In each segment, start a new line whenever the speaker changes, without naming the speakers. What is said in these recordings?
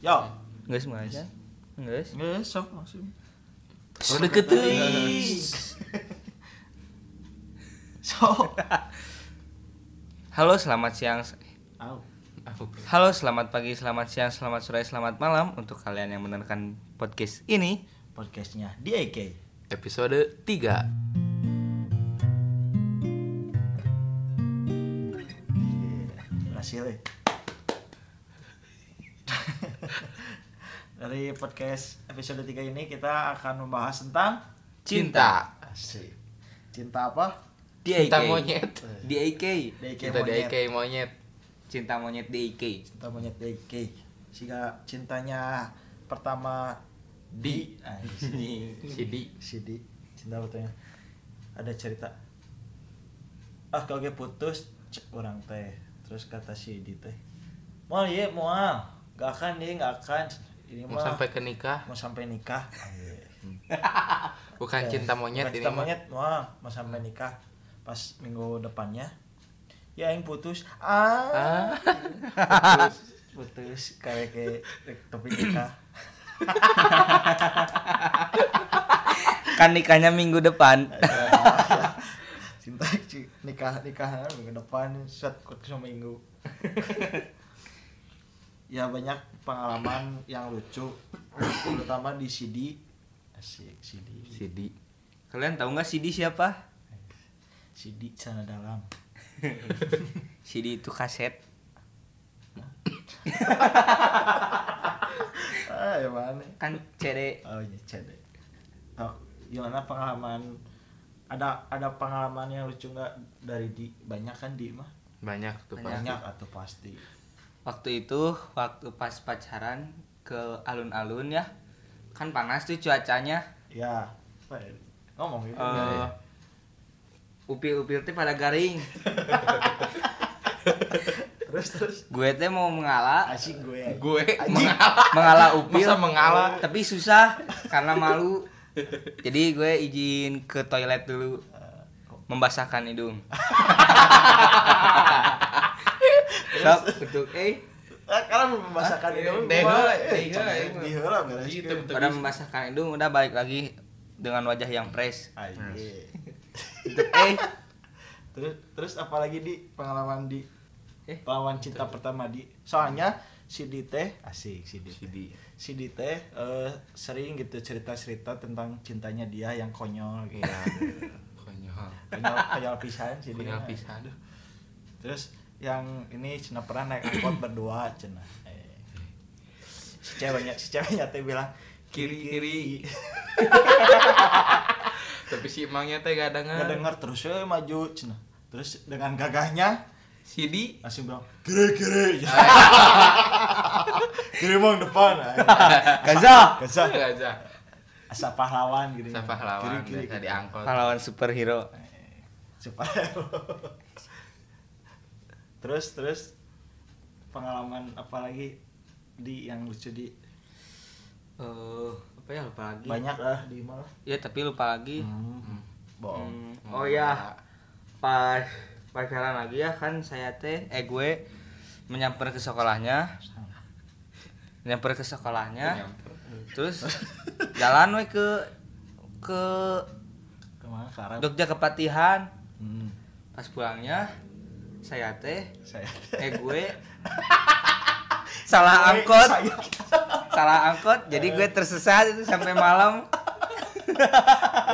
Yo,
Nggak sih mas Nggak sih
Ya, nggak ya, sok maksud.
Oh deket tuh
Sok.
Halo selamat siang
Au.
Halo selamat pagi, selamat siang, selamat sore, selamat malam Untuk kalian yang mendengarkan podcast ini
Podcastnya DIK.
Episode 3
Berhasil eh. Dari podcast episode 3 ini kita akan membahas tentang
Cinta
Asik. cinta apa?
DIK
Cinta monyet
DIK
DIK
Cinta
monyet.
DIK monyet
Cinta monyet DIK
Cinta monyet DIK. Sehingga cintanya pertama di
Sidi
CD cinta betulnya ada cerita ah kalau ge putus cek orang teh terus kata si di teh mau ya mau gak akan dia gak akan ini
Mau
mah
sampai Ah, iya. ke nikah
mau sampai nikah
Bukan Kan cinta monyet
Iya. Bukan
ini
cinta
mah.
monyet mau mau sampai nikah pas minggu depannya ya yang putus ah,
Ah.
putus kayak ke tapi nikah
Kan nikahnya minggu depan
cinta ci- nikah nikah ah, minggu depan set ikut seminggu ya banyak pengalaman yang lucu terutama di CD asik CD
Sidi
Kalian tahu nggak CD siapa?
CD sana dalam
CD itu kaset
ah ya mana
Kan CD
oh ini CD oh, gimana pengalaman ada ada pengalaman yang lucu nggak dari di banyak kan di mah
Banyak tuh pasti
banyak atau pasti
Waktu itu, waktu pas pacaran ke alun-alun ya Kan panas tuh cuacanya
ya apa ya? ngomong gitu
Eh, Upil-upil teh pada garing
terus terus
Gue teh mau mengalah
asik gue
Gue
Meng- mengalah upil
Masa mengalah?
tapi susah karena malu jadi gue izin ke toilet dulu membasahkan hidung Sok, untuk eh
Ah, karena membahasakan
Ah,
ini
iya,
mah,
deh,
mah,
deh,
eh,
deh,
canda,
iya.
deh,
deh, heula, beres,
Gitu,
ke.
betul.
udah membasahkan hidung udah balik lagi dengan wajah yang fresh
Ah, iya.
untuk eh
terus terus apalagi di pengalaman di
Eh.
pengalaman cinta pertama di soalnya si di teh asik si di teh.
Sidi
si di teh eh, sering gitu cerita cerita tentang cintanya dia yang konyol gitu
Ya Konyol
konyol konyol pisan si di
Konyol
teh.
pisan
terus yang ini cina pernah naik angkot berdua cina eh. si ceweknya si ceweknya teh bilang
Kiri, kiri. Tapi si emangnya teh
nggak
gak denger
dengar terus eh maju cina terus dengan gagahnya
Sidi
langsung bilang kiri kiri kiri mang depan
Gaza
kesah
Gak aja
asa pahlawan gitu
Siapa lawan
kiri
Bisa
kiri
diangkut
pahlawan superhero
supaya terus terus pengalaman apalagi di yang lucu di
Eh, apa ya lupa lagi
banyak lah Ah, di malah
ya tapi lupa lagi
hmm. bohong
Hmm, Oh ya, pas pacaran lagi ya kan saya teh eh gue menyamper ke sekolahnya,
Hmm.
menyamper ke sekolahnya, terus jalan we ke ke
kemana sekarang
Jogja Kepatihan.
hmm.
Pas pulangnya saya teh
saya
eh gue salah angkot,
Saya.
salah angkot, jadi gue tersesat itu sampai malam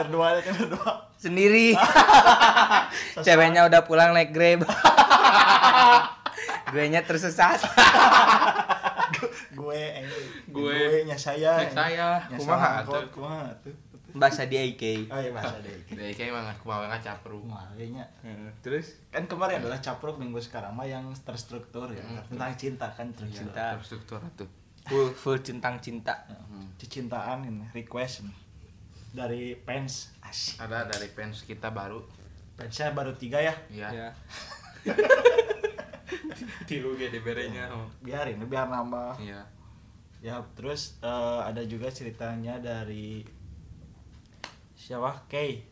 berdua aja kan berdua
sendiri. Ceweknya udah pulang naik Grab. gue nya tersesat.
gue eh,
Gue.
nya saya
Nya saya.
nya
Kumaha
saya angkot,
atuh?
kumaha tuh
bahasa DIK
oh iya bahasa deh
Dari kayak emang aku mau capru
kayaknya
terus
kan
Iya.
kemarin adalah capruk minggu sekarang mah yang terstruktur ya
Hmm.
tentang cinta kan tercinta
cinta
Terstruktur tuh
full full cintang cinta
Iya. Hmm.
cintaan ini request nih dari fans asik
Ada dari fans kita baru
fansnya baru tiga ya
Ya
ya
Tilu gede
ya.
berenya
biarin biar nambah
Iya
ya terus eh, ada juga ceritanya dari siapa Kay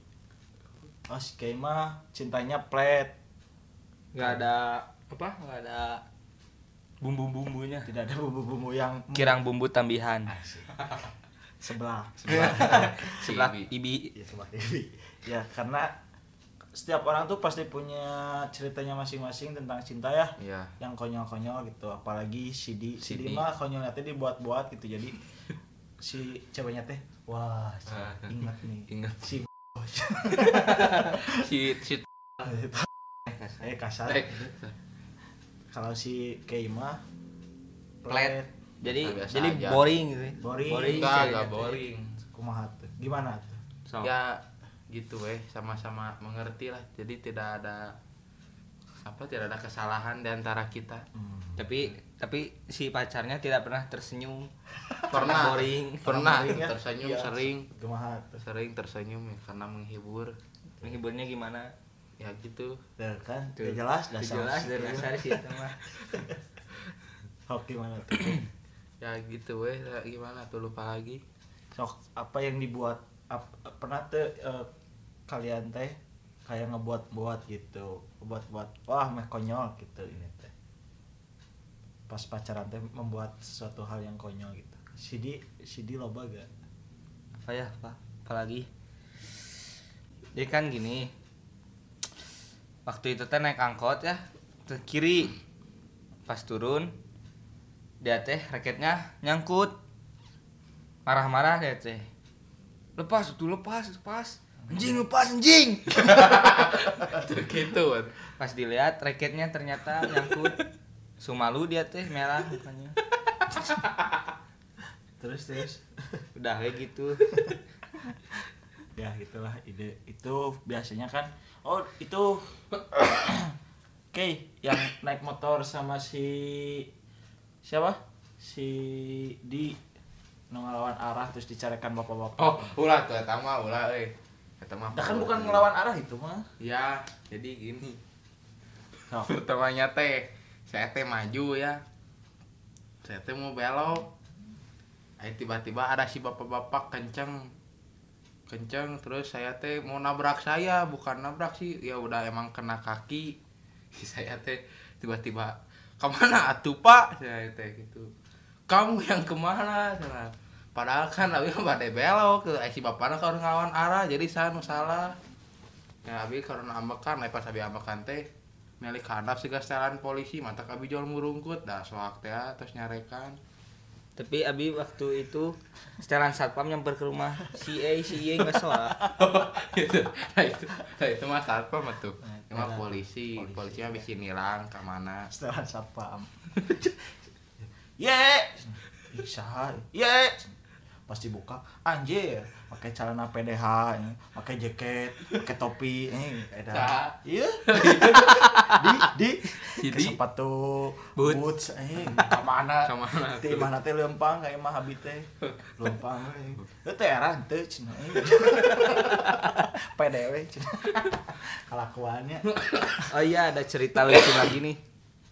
oh si Kay mah cintanya plat
nggak ada apa nggak ada bumbu-bumbunya
tidak ada bumbu-bumbu yang
kirang bumbu tambihan
sebelah
sebelah
Ibi.
ibi
ya sebelah TV ya karena setiap orang tuh pasti punya ceritanya masing-masing tentang cinta ya
Iya.
yang konyol-konyol gitu apalagi CD CD
CD.
mah konyolnya teh dibuat-buat gitu jadi si ceweknya teh wah si-
Ah.
ingat nih
Ingat.
si
si si
eh kasar
Eh,
kalau si Keima
Plet. jadi
Biasa
jadi
aja.
boring gitu ya.
Boring.
enggak
jadinya.
enggak boring
kumaha tuh gimana tuh
So,
ya gitu weh sama-sama mengerti lah jadi tidak ada apa tidak ada kesalahan di antara kita
Hmm.
tapi tapi si pacarnya tidak pernah tersenyum
pernah
boring
pernah
Boring ya?
tersenyum
Iya,
sering
kumaha tuh
sering tersenyum ya karena menghibur
menghiburnya gimana
ya gitu
Tuh kan
Tuh.
ya jelas dasar
jelas dari dasar sih itu mah
sok gimana tuh
ya gitu weh Ya, gimana tuh lupa lagi
sok apa yang dibuat ap- pernah tuh eh, kalian teh kayak ngebuat-buat gitu buat-buat wah meh konyol gitu ini teh pas pacaran teh membuat sesuatu hal yang konyol gitu CD CD loba gak
apa ya apa apalagi jadi kan gini waktu itu teh naik angkot ya ke kiri pas turun dia teh raketnya nyangkut marah-marah dia teh lepas tuh lepas lepas anjing lepas anjing
Tuh, gitu Wan.
pas dilihat raketnya ternyata nyangkut sumalu dia teh merah mukanya
terus terus
udah kayak gitu
ya gitulah ide itu biasanya kan oh itu oke yang naik motor sama si siapa si di ngelawan arah terus dicarikan bapak-bapak
oh ulah tuh eta mah ulah euy eta mah
Dah kan bukan ngelawan arah itu mah.
ya jadi gini
Sok.
pertamanya teh saya teh maju ya saya teh mau belok Ayo tiba-tiba ada si bapak-bapak kenceng kenceng terus saya teh mau nabrak saya bukan nabrak sih ya udah emang kena kaki saya teh tiba-tiba kemana atuh pak saya teh gitu kamu yang kemana Saya, padahal kan abi pada belok Ayo si bapaknya kalau ngelawan arah jadi saya nu salah ya abi karena ambekan lepas abi ambekan kan teh milik handap sih setelan polisi mata abi jual murungkut dah soak teh ah, terus nyarekan
Tapi Abi waktu itu setelan satpam nyamper ke rumah si E si E nggak soal.
itu nah itu nah itu mah satpam tuh
Nah,
cuma polisi
polisi.
polisi mah bisa nilang ke mana
Setelah satpam. Ye. Ih, saha? Ye. Pas dibuka, anjir, pakai celana PDH, eh, pakai jaket, pakai topi, eh, ada.
Saha?
Iya. Di, di,
Si
Ke
Di.
sepatu,
Boot.
boots, eh, ke mana?
Ke mana
Teh
tuh?
mana teh lempang, kayak mah habis teh, lempang, eh. Eh, teh eran, teh, cina, eh. PDW, cina. Kelakuannya.
Oh iya ada cerita lucu lagi nih.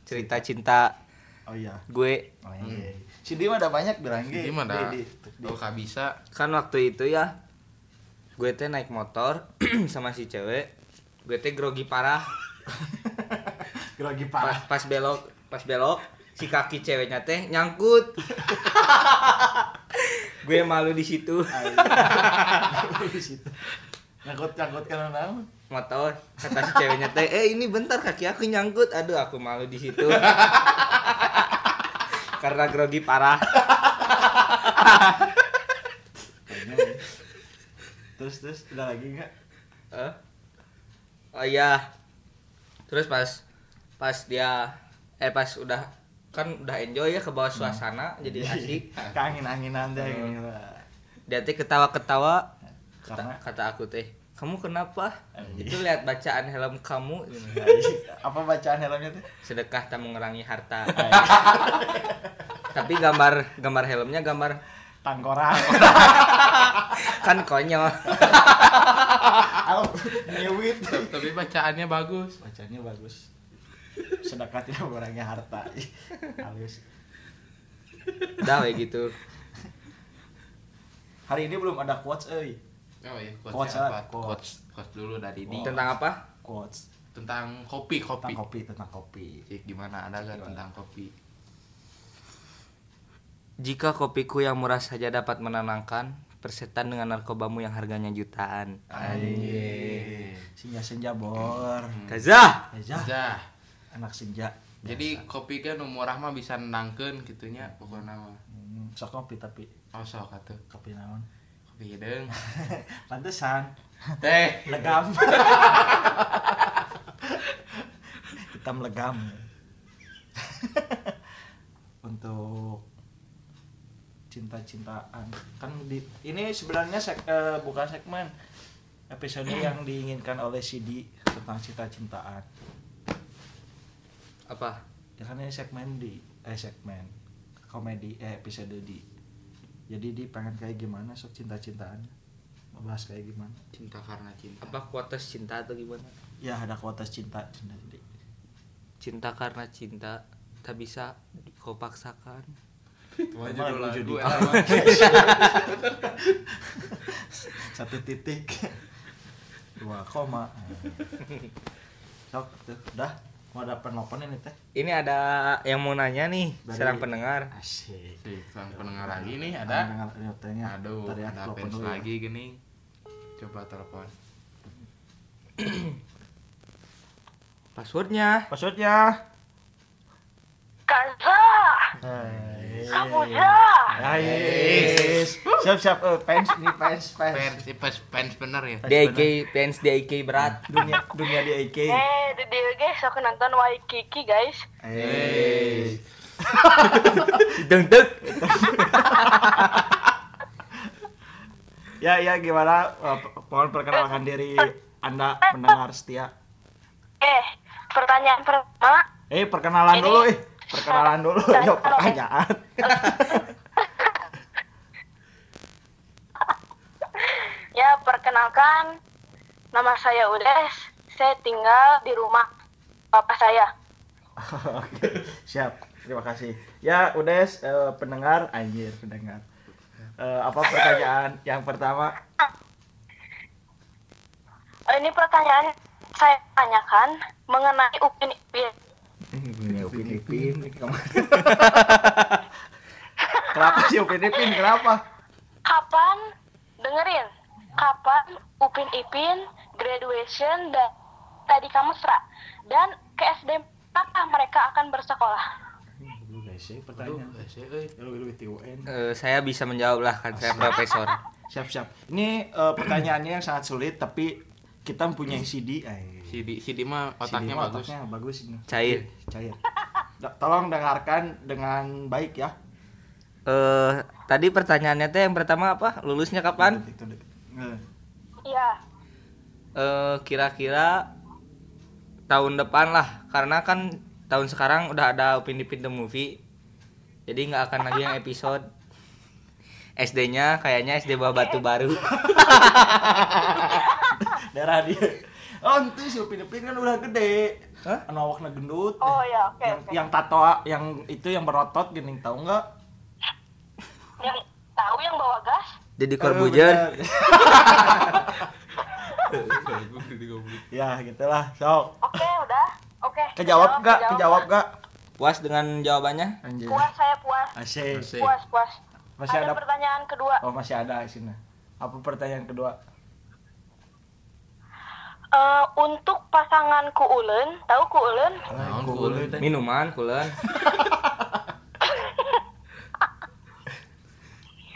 Cerita cinta
Oh iya.
gue
Oh, iya. Oh, Si Dim ada banyak bilang
jadi mana tuh gak oh, bisa
kan waktu itu ya gue teh naik motor sama si cewek gue teh grogi parah
Grogi
pas,
parah.
pas belok pas belok si kaki ceweknya teh nyangkut gue malu di situ
Di situ. Nyangkut nyangkut karena naon?
motor kata si ceweknya teh eh ini bentar kaki aku nyangkut aduh aku malu di situ karena grogi parah
Kayaknya. Terus terus ada lagi enggak?
Eh? oh iya terus pas pas dia eh pas udah kan udah enjoy ya ke bawah suasana jadi asik
Kangen anginan Iya. deh gini lah.
dia teh ketawa ketawa
Karena
kata aku teh kamu kenapa itu lihat bacaan helm kamu
apa bacaan helmnya tuh?
sedekah tak mengurangi harta tapi gambar gambar helmnya gambar
Tangkorak.
kan konyol
Au, nyewit.
tapi bacaannya bagus
Bacaannya bagus. Sedekah tidak mengurangi harta. Ih, Halus.
udah kayak gitu
Hari ini belum ada quotes eh. euy.
oh iya
Quotes
quotes
lah,
apa
quotes.
quotes quotes dulu dari di
tentang apa
Quotes
tentang kopi kopi
tentang kopi tentang kopi.
Cik, gimana ada gak tentang kopi
Jika kopiku yang murah saja dapat menenangkan, persetan dengan narkobamu yang harganya jutaan.
Anjing. Senja senja bor.
Kazah.
Aja.
Dah.
Anak senja.
Jadi kopi kan nu murah mah bisa nendangkeun kitunya pokoknya mah.
Hmm, sok kopi tapi
Oh sok atuh.
kopi naon.
Kopi hidung.
Pantesan.
Teh.
Legam. Hitam legam. Untuk cinta-cintaan kan di ini sebenarnya sek- eh, bukan segmen episode yang diinginkan oleh CD tentang cinta-cintaan.
Apa?
ya kan ini segmen di eh segmen komedi eh episode di jadi di pengen kayak gimana sok cinta cintaan bahas kayak gimana
Cinta karena cinta.
Apa kuotas cinta atau gimana?
ya ada kuota cinta cinta jadi
Cinta karena cinta tak bisa kau paksakan.
Itu aja
Emang
dulu
lagu ya. judi.
lagu. eh, mah.
satu titik dua koma sok tuh dah mau ada penelpon ini teh
Ini ada yang mau nanya nih,
Dari-
serang pendengar.
asik
Sih, Sang pendengar lagi nih ada.
Pendengar, ayo, tanya.
Aduh,
Ntar ya,
ada
telepon
fans
dulu ya.
lagi gini. Coba telepon.
Passwordnya.
Passwordnya
Kaza,
Iya,
Kamuza,
Guys, siap siap eh, fans nih fans fans
Fans, fans, fans bener ya.
DIK, fans DIK berat.
dunia dunia di AK
eh, di dieu ge sok nonton Waikiki guys.
Eh,
Deng deng.
ya ya gimana? Eh, po- Mohon perkenalkan diri Anda mendengar setia.
Eh, pertanyaan pertama,
Eh perkenalan
Ini-
dulu, eh perkenalan dulu,
Saya-
ya pertanyaan.
ya perkenalkan nama saya Udes, saya tinggal di rumah papa saya.
Oke, siap. Terima kasih. Ya Udes eh, pendengar, anjir pendengar. Eh, apa pertanyaan yang pertama?
Oh, Ini pertanyaan saya tanyakan mengenai Upin Ipin.
Ini Upin Ipin. Kenapa sih Upin Ipin? Kenapa?
Kapan dengerin? Kapan Upin Ipin graduation dan tadi kamu Sra? dan ke SDM apakah mereka akan bersekolah?
Lu guys, sih
Aduh,
pertanyaan.
eh, sih, eh.
Lu lu TUN.
Eh, saya bisa menjawab lah kan saya profesor.
Siap siap. Ini eh, pertanyaannya yang sangat sulit tapi kita mempunyai CD. Eh,
Si di si di mah otaknya
mah
bagus.
Otaknya bagus ini.
Cair.
Cair. Da- tolong dengarkan dengan baik ya.
Eh, tadi pertanyaannya teh yang pertama apa? Lulusnya kapan?
Itu- itu- eh,
Iya.
Eh, kira-kira tahun depan lah karena kan tahun sekarang udah ada Upin Ipin the movie jadi nggak akan lagi yang episode SD-nya kayaknya SD bawah batu baru
Daerah dia. Oh, itu si Upin Ipin kan udah gede. Hah? Anu awakna gendut.
Oh ya, oke.
yang,
oke.
yang tato yang itu yang berotot gini tahu nggak?
yang tahu yang bawa gas
jadi
Eh,
Corbuzier
bener. ya gitulah. Sok.
oke udah oke
Kejawab nggak? Kejawab
kejawab.
nggak?
puas dengan jawabannya
Anjir.
puas saya puas
Asik.
Asik.
puas puas
Masih
ada,
ada
pertanyaan kedua
Oh, masih ada di sini. Apa pertanyaan kedua?
Eh, untuk pasanganku Ulen tahu ku Ulen
Naon
Ku
ku
Ulun.
ulun?
minuman kulen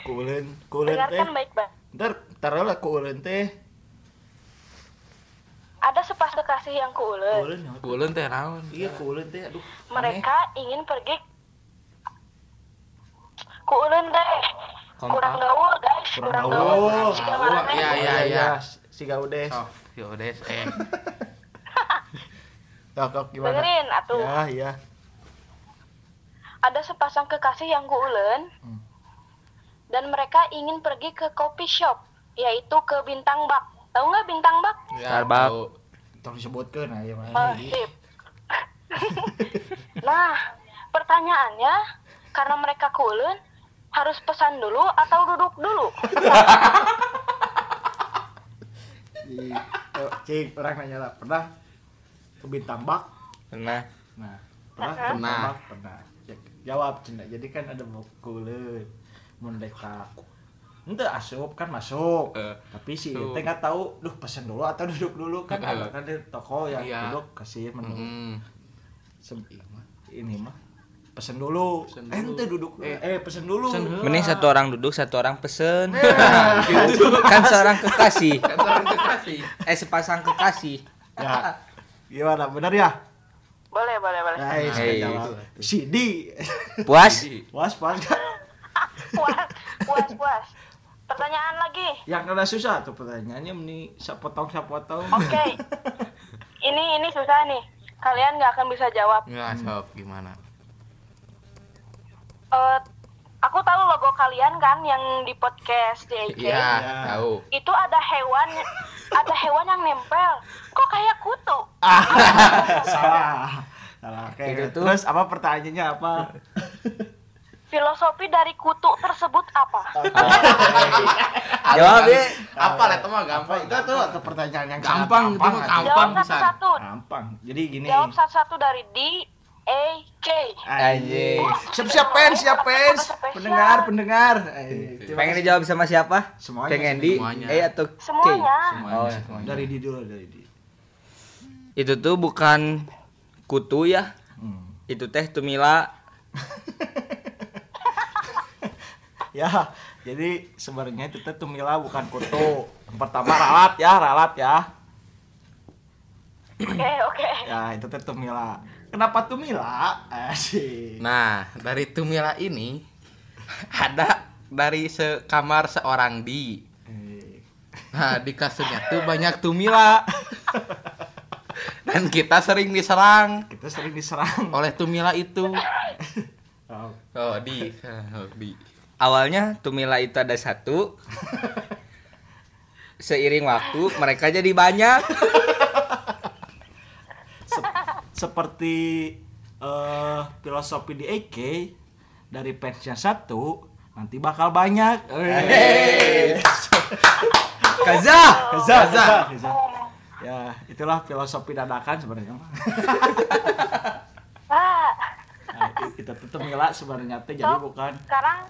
Ku Ulun, ku Ulun teh.
dengarkan baik-baik
Ntar, ntar lah ku Ulun teh.
ada sepasang kekasih yang ku
Ku
Ulen
Ulun nyawa.
Ku ulun teh naon?
Iya, ku Ulun teh. Aduh.
mereka ingin pergi ku Ulen deh
Kompak.
kurang gaul guys
Kurang
kurang,
gaul.
gaul, Jika
Gaul,
marahnya-
iya, iya. Oh.
Si Gaudes.
Sok, si Odes eh.
Kok kok gimana?
dengerin atuh
Ya, iya.
ada sepasang kekasih yang guulen
Hmm.
dan mereka ingin pergi ke coffee shop yaitu ke Bintang Bak tahu nggak Bintang Bak
Ya,
Starbucks.
tahu.
Tolong disebutkeun nah ieu mah.
Eh, sip. nah pertanyaannya karena mereka kuulen harus pesan dulu atau duduk dulu
Di- eh, Cing, orang nanya lah, pernah ke Bintang Bak?
pernah
Nah, pernah ke
Pernah.
Bintang Bak? Pernah. Ya, jawab cina jadi kan ada eh, buku leun mun deka ente asup kan masuk
Eh,
tapi si
tuh.
ente nggak tahu duh pesen dulu atau duduk dulu kan
Heeh.
ada kan di toko yang
Iya.
duduk kasih menu
Mm-mm.
Se-
Iya, mah.
ini mah pesen dulu,
Pesen
Eh,
dulu.
ente duduk dulu.
Eh,
eh pesen dulu
pesen dulu.
Mending satu orang duduk, satu orang pesen.
Gitu.
kan seorang kekasih.
Kan orang kekasih.
Eh sepasang kekasih.
ya gimana benar ya
Boleh, boleh, boleh.
Nah, eh, saya
Hey.
jawab. CD
Puas?
Jadi,
was pas nggak?
Ah, puas, puas, puas. Pertanyaan lagi.
yang rada susah tuh pertanyaannya meni sapotong sapotong
Oke. Ini ini susah nih. Kalian nggak akan bisa jawab.
Hmm.
Nggak, sob, gimana?
Eh, aku tahu logo kalian kan yang di podcast JK.
Iya, tahu.
Itu ada hewan, ada hewan yang nempel. Kok kayak kutu?
salah salah oke
Itu tuh-
terus apa pertanyaannya apa
Filosofi dari kutu tersebut apa?
Ah,
Jawab ya.
Apa lah itu mah gampang.
itu tuh atau pertanyaan yang sangat
Gampang itu mah
aja.
gampang
Jawab
bisa.
satu-satu.
gampang jadi gini
Jawab satu-satu dari D, E, A, K.
Anjing.
siap siap pens siap pens pendengar pendengar Eh, terima
Pengen
kasih.
dijawab sama siapa?
Semuanya,
Pengen di
semuanya.
E atau K?
Semuanya.
Semuanya,
Oh,
semuanya.
iya. dari di dulu dari di
Itu tuh bukan kutu ya.
Hmm.
Itu teh tumila.
ya jadi sebenarnya itu tuh tumila bukan kutu yang pertama ralat ya ralat ya
Oke, oke.
ya itu tuh tumila kenapa tumila Eh, asik
Nah, dari Tumila ini ada dari sekamar seorang di.
Eh,
Nah, di kasurnya tuh banyak Tumila. Dan kita sering diserang
kita sering diserang
oleh Tumila itu.
Oh,
Oh, di. Oh, di.
Awalnya tumila itu ada satu. Seiring waktu mereka jadi banyak.
se- seperti eh, filosofi di AK dari fansnya satu nanti bakal banyak
iya.
Eh, Hey.
Kaza.
Keza, Keza, Keza. ya itulah filosofi dadakan sebenarnya Nah, mah.
Ah,
nah, i- kita tuh temila sebenarnya teh jadi bukan
sekarang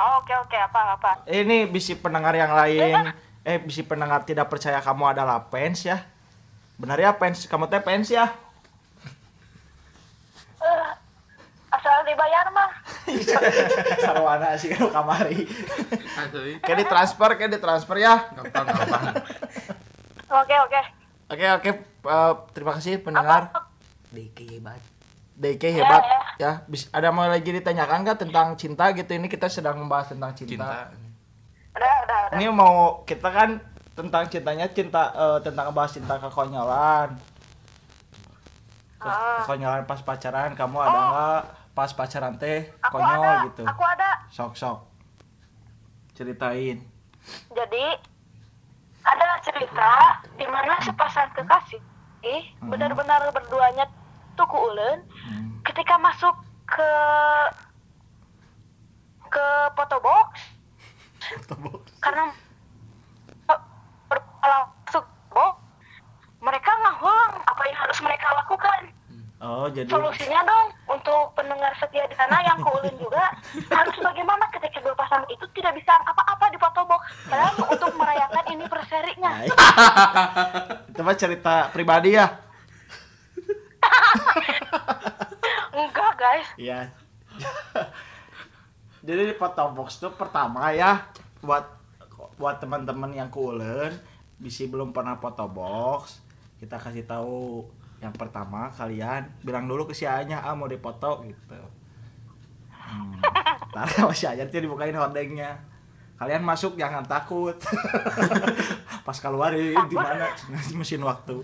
Oh, Oke, oke, apa, apa?
ini bisi pendengar yang lain eh bisi pendengar tidak percaya kamu adalah fans ya benar ya fans kamu teh fans ya
Eh, asal dibayar mah.
sarwana sih kalau kamari
Asli.
kayak ditransfer kayak ditransfer ya
Gampang, gampang.
Oke, oke.
Oke oke eh, terima kasih pendengar DK hebat
Ya,
ya. Bis- ada mau lagi ditanyakan nggak tentang cinta gitu ini kita sedang membahas tentang cinta.
Cinta.
Udah, udah, udah.
Ini mau kita kan tentang cintanya cinta eh, tentang bahas cinta kekonyolan. Ke-
Ah.
Kekonyolan pas pacaran kamu ada
Oh.
nggak pas pacaran teh
Aku
konyol
ada,
gitu.
aku ada.
Sok sok ceritain.
Jadi ada cerita di mana sepasang kekasih eh,
Hmm.
benar-benar berduanya tuh kuulen
Hmm.
ketika masuk ke ke photo box karena ber- langsung box mereka ngahulang apa yang harus mereka lakukan
Oh jadi
solusinya dong untuk pendengar setia di sana yang keulin juga harus bagaimana ketika dua pasang itu tidak bisa apa-apa di foto box dan untuk merayakan ini
Nah,
berserinya
itu- itu mah cerita pribadi ya.
enggak guys
Iya. Jadi di foto box tuh pertama ya buat buat teman-teman yang kuulen bisi belum pernah foto box kita kasih tahu yang pertama kalian bilang dulu ke si Anya ah mau dipoto gitu hmm. Ntar sama si Anya tuh dibukain hordengnya kalian masuk jangan takut pas keluar di di mana mesin waktu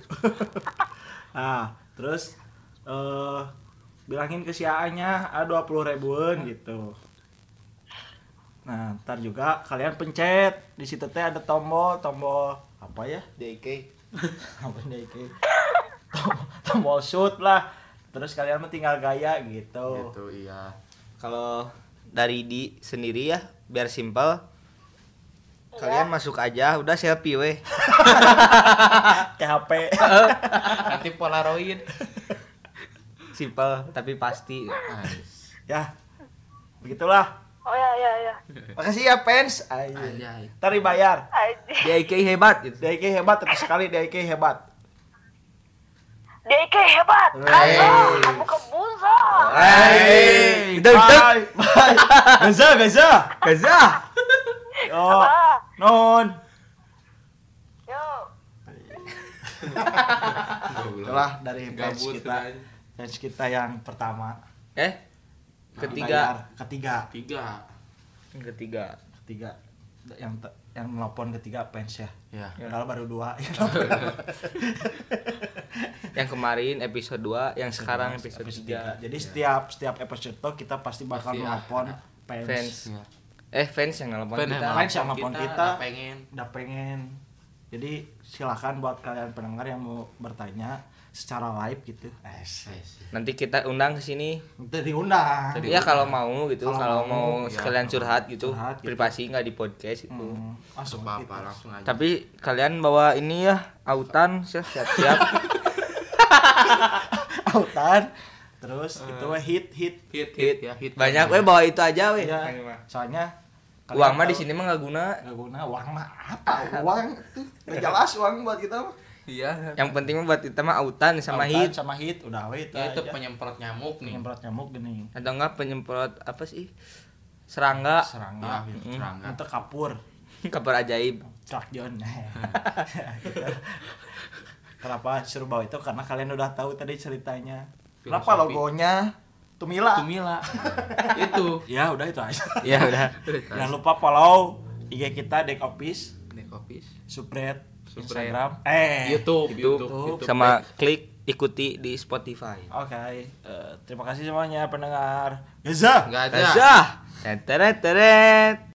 nah terus eh bilangin ke si A-nya ah dua puluh ribuan gitu nah ntar juga kalian pencet di situ teh ada tombol tombol apa ya DK apa DK Tom- tombol shoot lah terus kalian mah tinggal gaya gitu
Gitu, iya.
Kalau dari di sendiri ya, biar simpel. Kalian masuk aja, udah selfie weh.
Ah, THP
Nanti Polaroid.
Simpel tapi pasti.
Nice.
ya begitulah
Oh ya ya ya.
Eh.
makasih ya fans aja
Anjay.
tari bayar
Aji.
DIK hebat gitu.
DIK hebat terus sekali DIK hebat
DK hebat.
Hey.
Kamu kamu kebuza.
Hey, deg deg.
bye bye gaza gaza
Gaza.
oh non
Yo.
itulah dari fans
Gabut, kan?
kita
anjing.
fans kita yang pertama
Eh,
Bayar.
ketiga,
ketiga
Tiga.
ketiga.
ketiga yang te- yang nelpon ketiga fans ya
Ya.
padahal baru dua yang nelpon.
Yang kemarin episode 2, yang sekarang episode
Episode
3.
tiga. jadi setiap setiap episode tuh kita pasti bakal
Ya. Pasti
nelpon
ada
fans,
Fans. Eh, fans yang nelpon
iya. Pen
kita.
emang. Fans yang nelpon kita.
pengen
udah pengen jadi silahkan buat kalian pendengar yang mau bertanya secara live gitu
Eh,
es
iya.
Nanti kita undang ke sini.
itu diundang
Iya kalau mau gitu,
Kalau
kalau
mau,
mau
ya,
sekalian curhat gitu,
curhat gitu.
privasi nggak di podcast itu.
Hmm, langsung gitu.
bapak langsung aja
Tapi kalian bawa ini ya, autan siap-siap.
autan terus itu weh hit hit
hit hit
hit,
ya hit
Banyak we bawa itu aja we.
ya soalnya kalian
Uang mah
tahu-
di sini mah nggak guna.
nggak guna uang mah apa uang tuh nggak jelas uang buat kita mah
iya
Yang penting mah buat kita mah autan sama
Autan
hit
sama hit udah weh itu
ya itu
aja.
penyemprot nyamuk nih
nyemprot nyamuk gini
atau enggak penyemprot apa sih? Serangga,
serangga
ya
gitu.
serangga
itu kapur
kabar ajaib.
trakjon kenapa suruh bawa itu karena kalian udah tahu tadi ceritanya kenapa
Filosofi.
logonya tumila
tumila itu
ya udah itu aja
Ya udah.
jangan lupa follow IG kita Deck Office
nekopis
Supret
Supret.
Instagram eh
YouTube
YouTube,
YouTube.
sama klik ikuti di Spotify.
Oke, eh, terima kasih semuanya pendengar. Gaza.
nggak ada
Tazah. Teret teret.